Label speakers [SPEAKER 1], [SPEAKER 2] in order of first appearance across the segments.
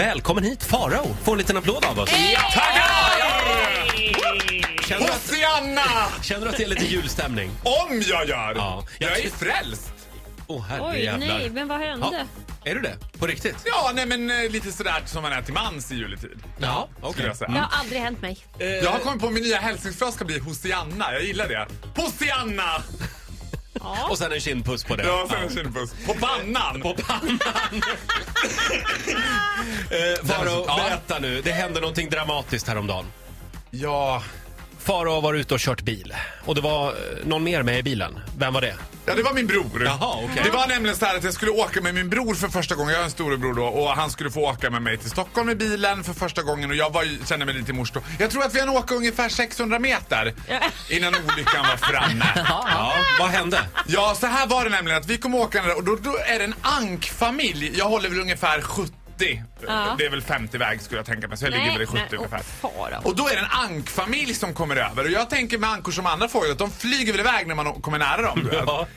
[SPEAKER 1] Välkommen hit Farao! Få en liten applåd av oss. Känner du, att,
[SPEAKER 2] Hosianna!
[SPEAKER 1] känner du att det är lite julstämning?
[SPEAKER 2] Om jag gör!
[SPEAKER 1] Ja, jag
[SPEAKER 2] jag,
[SPEAKER 1] ty-
[SPEAKER 2] är frälst!
[SPEAKER 1] Åh herre
[SPEAKER 3] Oj,
[SPEAKER 1] jävlar.
[SPEAKER 3] nej, men vad hände?
[SPEAKER 1] Är du det? På riktigt?
[SPEAKER 2] Ja, nej men eh, lite sådär som man är till mans i juletid.
[SPEAKER 1] Ja,
[SPEAKER 2] Skulle
[SPEAKER 1] okej.
[SPEAKER 2] jag, säga.
[SPEAKER 3] Det har aldrig hänt mig.
[SPEAKER 2] Eh, jag har kommit på min nya hälsningsfras ska bli Hosianna. Jag gillar det. Hosianna!
[SPEAKER 1] Och sen en kindpuss på det.
[SPEAKER 2] Ja, sen en kindpuss. På pannan!
[SPEAKER 1] På pannan! eh, Farao,
[SPEAKER 2] Ja.
[SPEAKER 1] berätta nu. Det hände någonting dramatiskt häromdagen.
[SPEAKER 2] Ja.
[SPEAKER 1] Farao var ute och kört bil. Och det var eh, någon mer med i bilen. Vem var det?
[SPEAKER 2] Ja, det var min bror.
[SPEAKER 1] Jaha, okej.
[SPEAKER 2] Det var nämligen så här att jag skulle åka med min bror för första gången. Jag har en storebror då och han skulle få åka med mig till Stockholm i bilen för första gången och jag var, ju- kände mig lite mors då. Jag tror att vi hann åka ungefär 600 meter innan olyckan var framme.
[SPEAKER 1] Ja, vad hände?
[SPEAKER 2] Ja, så här var det nämligen att vi kom åkande och då, då är det en ankfamilj. Jag håller väl ungefär 70. Det är väl 50 väg skulle jag tänka mig, så jag
[SPEAKER 3] Nej,
[SPEAKER 2] ligger väl i 70
[SPEAKER 3] men-
[SPEAKER 2] ungefär.
[SPEAKER 3] åh, Farao.
[SPEAKER 2] Och då är det en ankfamilj som kommer över och jag tänker med ankor som andra fåglar att de flyger väl iväg när man å- kommer nära dem. du vet.
[SPEAKER 1] Ja.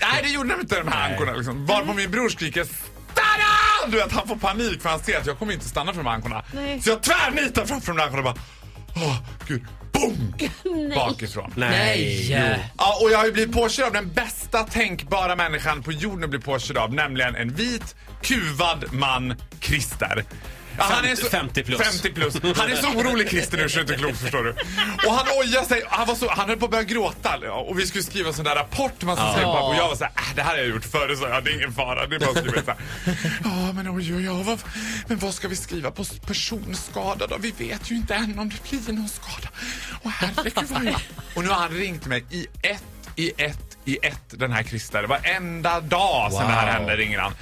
[SPEAKER 2] Nej, det gjorde de inte de här ankorna liksom. Varpå min bror skriker Stanna! Du vet, han får panik för han ser att jag kommer inte stanna för de här ankorna.
[SPEAKER 3] Nej.
[SPEAKER 2] Så jag tvärnitar framför de där ankorna och bara, åh gud, boom! Bakifrån. Ja, och jag har ju blivit påkörd av den bästa tänkbara människan på jorden att bli påkörd av, nämligen en vit, kuvad man, Christer. Ja, han är så,
[SPEAKER 1] 50 plus.
[SPEAKER 2] 50 plus. Han är så orolig Christer nu så det är inte klokt förstår du. Och han ojar sig. Han, var så, han höll på att börja gråta. ja, Och vi skulle skriva en sån där rapport man ska skriva på. Och jag var så här, äh, det här har jag gjort förr. Så jag, det är ingen fara. Det är bara att skriva så här. Ja men oj oj oj. Vad, men vad ska vi skriva på s- personskada då? Vi vet ju inte än om det blir någon skada. Och herregud vad jag... Och nu har han ringt mig i ett, i ett, i ett den här Christer. Varenda dag sen det här
[SPEAKER 1] Wow.
[SPEAKER 2] hände ringer han.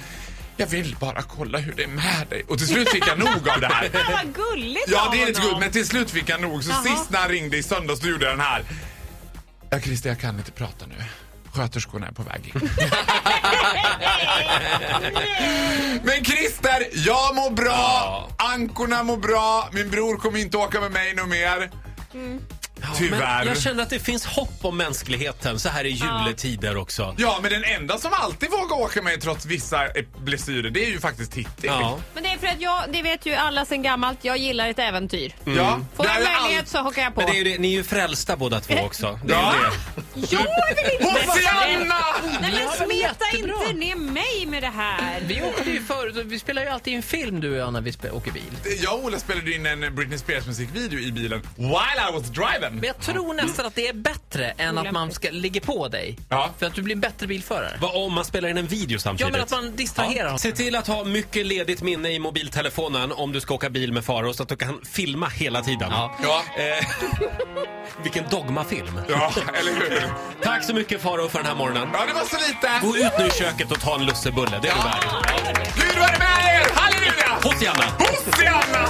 [SPEAKER 2] Jag vill bara kolla hur det är med dig. Och till slut fick jag nog av det här.
[SPEAKER 3] Ja, vad gulligt
[SPEAKER 2] Ja,
[SPEAKER 3] av
[SPEAKER 2] det är lite
[SPEAKER 3] honom.
[SPEAKER 2] gulligt, men till slut fick han nog. Så
[SPEAKER 3] Jaha.
[SPEAKER 2] sist när han ringde i söndags, då gjorde jag den här. Ja, Christer, jag kan inte prata nu. Sköterskorna är på väg in. Men Christer, jag mår bra,
[SPEAKER 1] Ja.
[SPEAKER 2] ankorna mår bra, min bror kommer inte åka med mig något mer. Tyvärr.
[SPEAKER 1] Men jag känner att det finns hopp om mänskligheten så här i juletider också.
[SPEAKER 2] Ja, men den enda som alltid vågar åka med trots vissa eh, blessyrer, det är ju faktiskt Titti.
[SPEAKER 1] Ja.
[SPEAKER 3] Men det är för att jag, det vet ju alla sen gammalt, jag gillar ett äventyr.
[SPEAKER 2] Ja,
[SPEAKER 3] Får
[SPEAKER 2] det är
[SPEAKER 3] jag
[SPEAKER 2] ju all-
[SPEAKER 3] möjlighet så hakar jag på.
[SPEAKER 1] Men det är ju det, ni är ju frälsta båda två också. Det är ju
[SPEAKER 2] Ja.
[SPEAKER 1] det.
[SPEAKER 3] Jag är väl inte
[SPEAKER 2] Hosianna!
[SPEAKER 3] Nej men
[SPEAKER 4] Ja, det är
[SPEAKER 3] smeta
[SPEAKER 4] jättebra.
[SPEAKER 3] inte ner mig med det här.
[SPEAKER 4] Vi åkte ju förut, vi spelar ju alltid en film du och jag när vi spe- åker bil.
[SPEAKER 2] Jag och Ola spelade in en Britney Spears musikvideo i bilen while I was driving.
[SPEAKER 4] Men jag tror nästan att det är bättre än att man ska ligga på dig.
[SPEAKER 2] Ja.
[SPEAKER 4] För att du blir en bättre bilförare.
[SPEAKER 1] Vad om man spelar in en video
[SPEAKER 4] Ja,
[SPEAKER 1] samtidigt?
[SPEAKER 4] men att man distraherar
[SPEAKER 1] Ja.
[SPEAKER 4] honom.
[SPEAKER 1] Se till att ha mycket ledigt minne i mobiltelefonen om du ska åka bil med Faro så att du kan filma hela tiden.
[SPEAKER 2] Ja.
[SPEAKER 1] Eh, vilken dogmafilm.
[SPEAKER 2] Ja, eller hur?
[SPEAKER 1] Tack så mycket Faro för den här morgonen.
[SPEAKER 2] Ja, det var så
[SPEAKER 1] Gå
[SPEAKER 2] lite.
[SPEAKER 1] ut nu i köket och ta en lussebulle, det är du värd.
[SPEAKER 2] Gud vad det är med er! Halleluja!
[SPEAKER 1] Puss Janna!
[SPEAKER 2] Hosianna!